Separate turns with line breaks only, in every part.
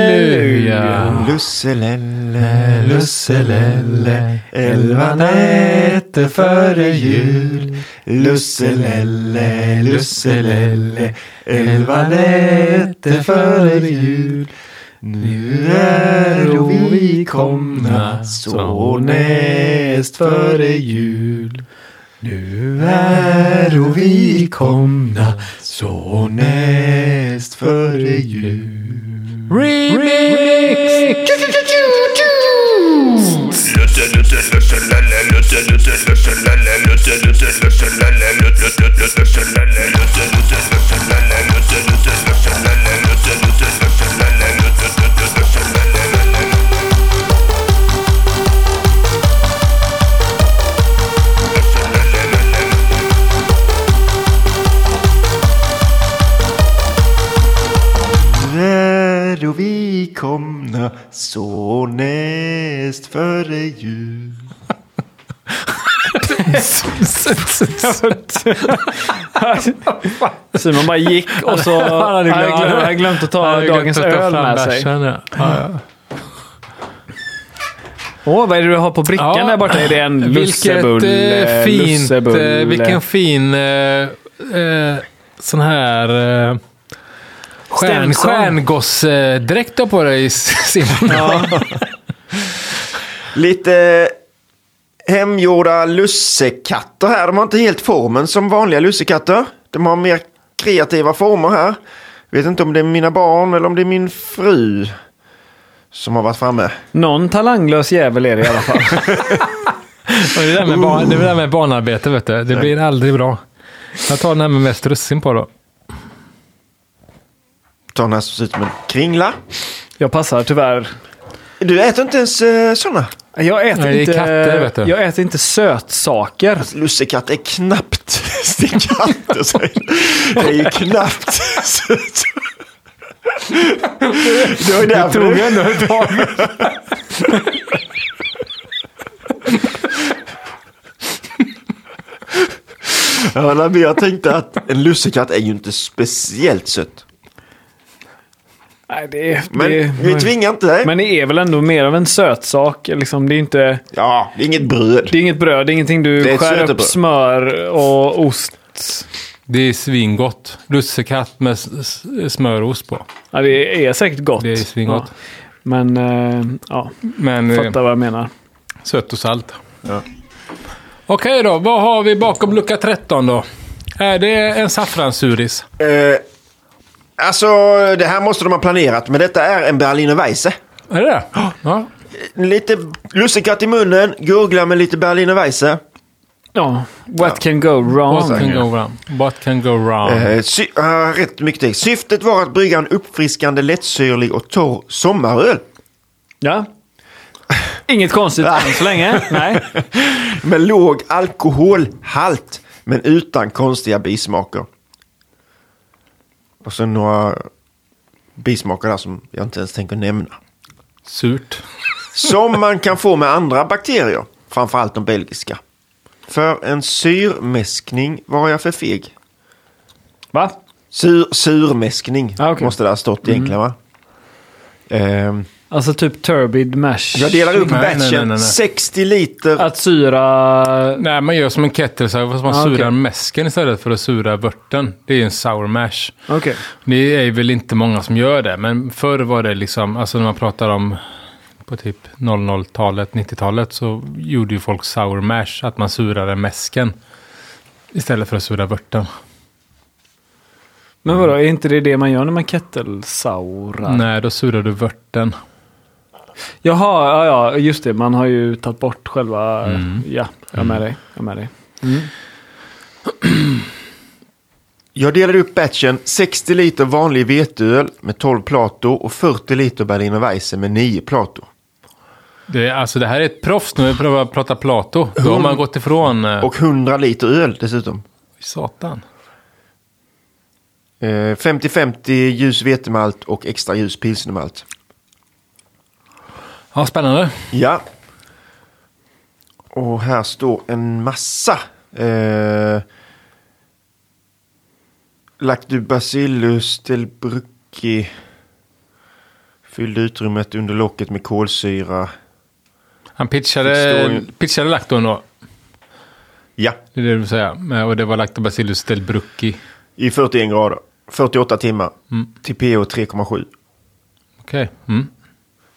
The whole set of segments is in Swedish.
Halleluja.
Lusselelle, lusselelle, elva nätter före jul. Lusselelle, lusselelle, elva nätter före jul. Nu är vi komna så näst före jul. Nu är vi komna så näst före jul.
Remix!
När och vi komna så näst före jul.
Simon bara gick och så
Han hade glömt-
han glömt, han glömt att ta dagens öl med sig.
Bärsen, ja.
Åh, vad är det du har på brickan
Ja.
där borta? Är det en
Vilket
lussebulle?
eh, fint,
lussebulle?
eh, vilken fin eh, eh, sån här eh, stjärn,
Stenson.
stjärngossdräkt du har på dig Simon.
Lite hemgjorda lussekatter här. De har inte helt formen som vanliga lussekatter. De har mer kreativa former här. Vet inte om det är mina barn eller om det är min fru som har varit framme.
Någon talanglös jävel är det i alla fall.
Och det, där med barn, det där med barnarbete vet du, det blir aldrig bra. Jag tar den här med mest russin på då.
Ta den här som ser ut som en kringla.
Jag passar tyvärr.
Du äter inte ens eh, sådana.
Jag äter,
Nej, det är
inte,
katter, vet du.
jag äter inte sötsaker.
Lussekatt är knappt stickant. och så- Det är ju knappt. Det var ju därför du
ändå ett tag.
Ja, nej, men jag tänkte att en lussekatt är ju inte speciellt sött.
Nej, det, är-
Men
det,
vi tvingar inte dig.
men det är väl ändå mer av en sötsak. Liksom, det, är inte,
Ja, det är inget bröd.
det är inget bröd, det är ingenting
Det är
du
ett
skär upp
sötebröd.
smör och ost.
Det är svingott. Lussekatt med s- s- smör och ost på.
Ja, det är säkert gott.
Det är svingott.
Ja. Men eh, ja,
Men eh,
fattar vad jag menar.
sött och salt.
Ja.
Okej då, vad har vi bakom lucka 13 då? Är det en saffranssuris?
Eh, alltså, det här måste de ha planerat, men detta är en Berliner Weisse.
Är det det? Ja.
Lite lussekatt i munnen, gurgla med lite Berliner Weisse.
Ja, what can go wrong?
What can go wrong? What can go wrong?
Eh, sy- ah, rätt mycket text. Syftet var att brygga en uppfriskande, lättsyrlig och torr sommaröl.
Ja. Inget konstigt än så länge. Nej.
Med låg alkoholhalt, men utan konstiga bismaker. Och sen några bismaker där som jag inte ens tänker nämna.
Surt.
Som man kan få med andra bakterier, framförallt de belgiska. För en syrmäskning var jag för feg.
Va?
Sur, surmäskning
Ah, okej. Mm.
måste det ha stått egentligen va? Ehm,
Alltså typ turbid mash.
jag delar upp
Nej, nej, nej, nej,
batchen
nej.
60 liter
Att syra...
Nej, man gör som en kettlesauer fast man
Ah, okej.
surar mäsken istället för att sura vörten. Det är ju en sour mash.
Okej.
Det är väl inte många som gör det, men förr var det liksom, alltså när man pratar om på typ 00-talet, 90-talet så gjorde ju folk sour mash, att man surade mäsken istället för att sura vörten.
Men vadå, är inte det det man gör när man kettelsaurar?
Nej, då surar du vörten.
Jaha, ja, ja, just det. Man har ju tagit bort själva... Ja, jag är med dig. Jag är med dig.
Jag delade upp batchen 60 liter vanlig veteöl med 12 Plato och 40 liter Berliner Weisse med 9 Plato.
Det, är- alltså det här är ett proffs när vi prövar att prata Plato. Då har man gått ifrån... eh,
Och 100 liter öl dessutom.
satan.
Eh, 50-50 ljus vetemalt och extra ljus pilsnermalt.
Ja, spännande.
Ja. Och här står en massa. Eh, Lactobacillus delbruck. whisky. Fyllde utrymmet under locket med kolsyra.
Han
Fick
pitchade,
stå i-
pitchade Lacton då.
Ja,
Det är det du vill säga. Men- Och det var Lactobacillus delbrucki.
i 41 grader. 48 timmar.
Mm.
Till pH 3,7.
Okej. Mm.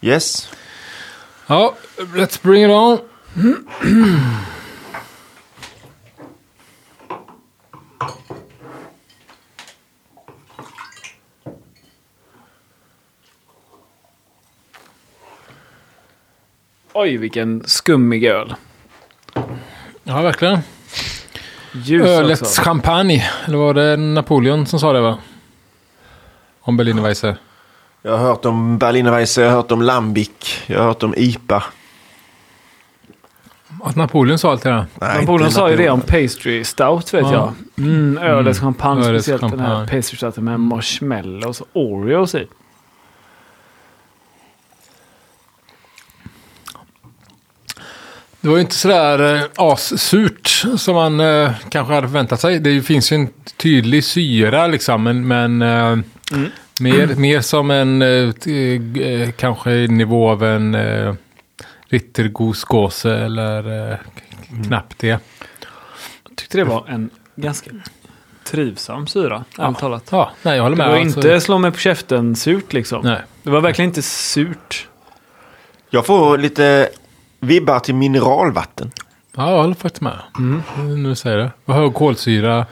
Yes.
Ja, let's bring it on.
Oj, vilken skummig öl.
Ja, verkligen.
Ljus
Ölets
också.
champagne. Eller var det Napoleon som sa det, va? Om Berliner Weisse.
Jag har hört om Berliner Weisse, jag har hört om Lambic, jag har hört om IPA.
Att Napoleon sa allt det där.
Nej,
Men
inte
Polen sa ju det
Napoleon.
om pastry stout vet
Ja.
jag. Mm, ölets champagne,
Ölets
speciellt den här
champagne.
pastry stouten med marshmallows och oreos i.
Det var ju inte sådär eh, assurt som man eh, kanske hade förväntat sig. Det finns ju en tydlig syra liksom, men, men eh,
Mm.
mer, mer som en eh, t- eh, kanske i nivå av en eh, rittergosgåse eller eh, k- knappt det.
Jag tyckte det var en ganska trivsam syra, ärligt talat.
Ja, nej, jag håller
Det
med.
var
alltså.
inte slå mig på käften surt liksom.
Nej.
Det var verkligen inte surt.
Jag får lite vibbar till mineralvatten.
Ja, jag håller faktiskt med.
Mm.
Nu när du säger det. Vad hög kolsyra.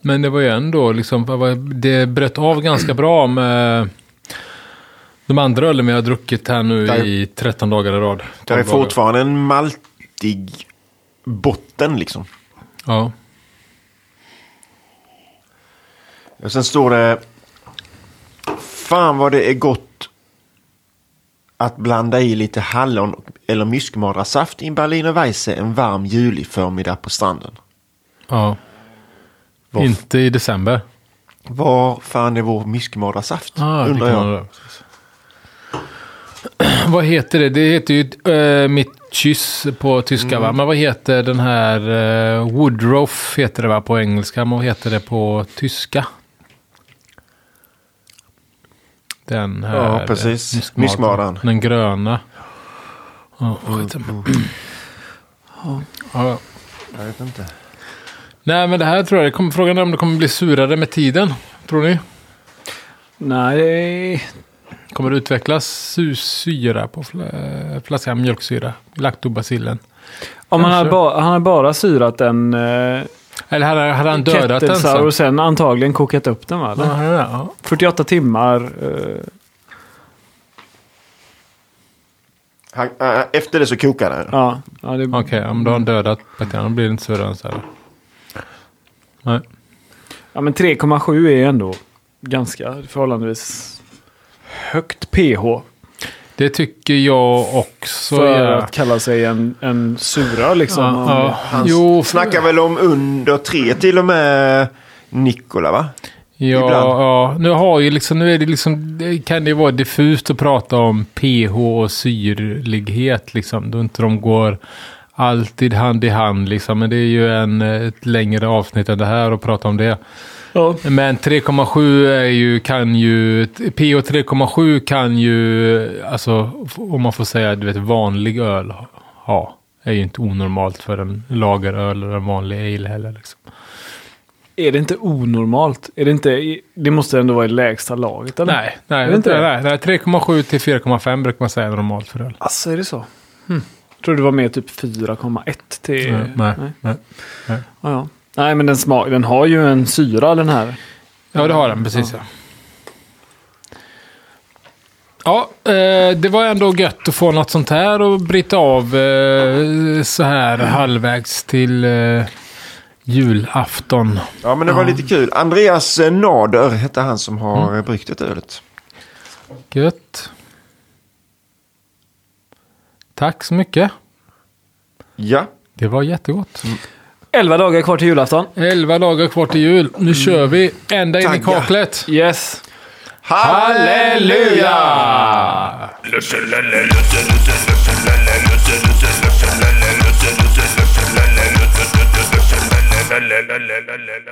Men det var ju ändå liksom, vad var- det bröt av ganska bra med de andra ölen vi har druckit här nu
Där-
i 13 dagar i rad.
Det är
12 dagar.
fortfarande en maltig botten liksom.
Ja.
Och sen står det... Fan vad det är gott att blanda i lite hallon och- eller myskmadrasaft i en Berliner Weisse en varm julig förmiddag på stranden.
ja.
Var,
Inte i december.
var fan är vår myskmadrasaft?
Ah, det
undrar
kan
jag.
man undra. vad heter det? Det heter ju eh, mitt kyss på tyska va?
Mm.
Men vad heter den här eh, Woodruff heter det va på engelska? Men vad heter det på tyska? Den här.
Ja, precis.
eh, myskmaran.
Myskmaran.
Den gröna. Ja,
Mm.
skiten. Ja.
Jag vet inte.
Nej, men det här tror jag. det Kommer, frågan är om det kommer bli surare med tiden. Tror ni?
Nej,
Kommer det utvecklas su- syra på fl- flaskan mjölksyra? Lactobacillen.
om han hade,
Kanske.
bara, han hade bara syrat en eh,
Eller hade, hade han dödat den
kettelsour
sen?
och sen antagligen kokat upp den va?
Ja,
eller?
han hade det, ja.
48 timmar. Eh,
Han, äh, efter det så kokade han.
ja, ja, det,
Okej, om du har han dödat Petter, då blir det inte surare än så här. Nej.
ja, men 3,7 är ändå ganska förhållandevis högt pH.
Det tycker jag också.
för
ja.
att kalla sig en, en sura liksom.
ja,
Om-
ja.
Han
Jo,
snackar väl om under tre till och med Nikola va?
Ja,
Ibland.
ja. Nu, har ju liksom, nu är det liksom, det kan det ju vara diffust att prata om pH och syrlighet. Liksom, då inte de går alltid hand i hand. Liksom. Men det är ju en, eh, ett längre avsnitt än det här att prata om det.
Ja.
Men 3,7 är ju, kan ju... pH 3,7 kan ju, alltså, f- om man får säga du vet, vanlig öl ha. är ju inte onormalt för en lageröl eller en vanlig ale heller. Liksom.
Är det inte onormalt? Är det, inte, i- det måste ändå vara i lägsta laget eller?
Nej, nej,
Är det inte
nej,
det?
nej, nej 3,7 till 4,5 brukar man säga är normalt för öl.
Alltså är det så? Hm. Jag tror det var mer typ 4,1 till...
Nej, nej, nej.
Ja, ja. nej men den, smak, den har ju en syra den här.
Ja, det har den. Precis ja. Ja, eh, det var ändå gött att få något sånt här och bryta av eh, så här halvvägs till eh, julafton.
Ja men det var lite kul. Andreas eh, Nader hette han som har mm. bryggt detta ölet.
Gött. Tack så mycket.
Ja.
Det var jättegott.
Mm. 11 dagar kvar till julafton.
Elva dagar kvar till jul. Nu kör vi ända in i
Tagga.
kaklet.
Yes.
Halleluja!
Hallelujah!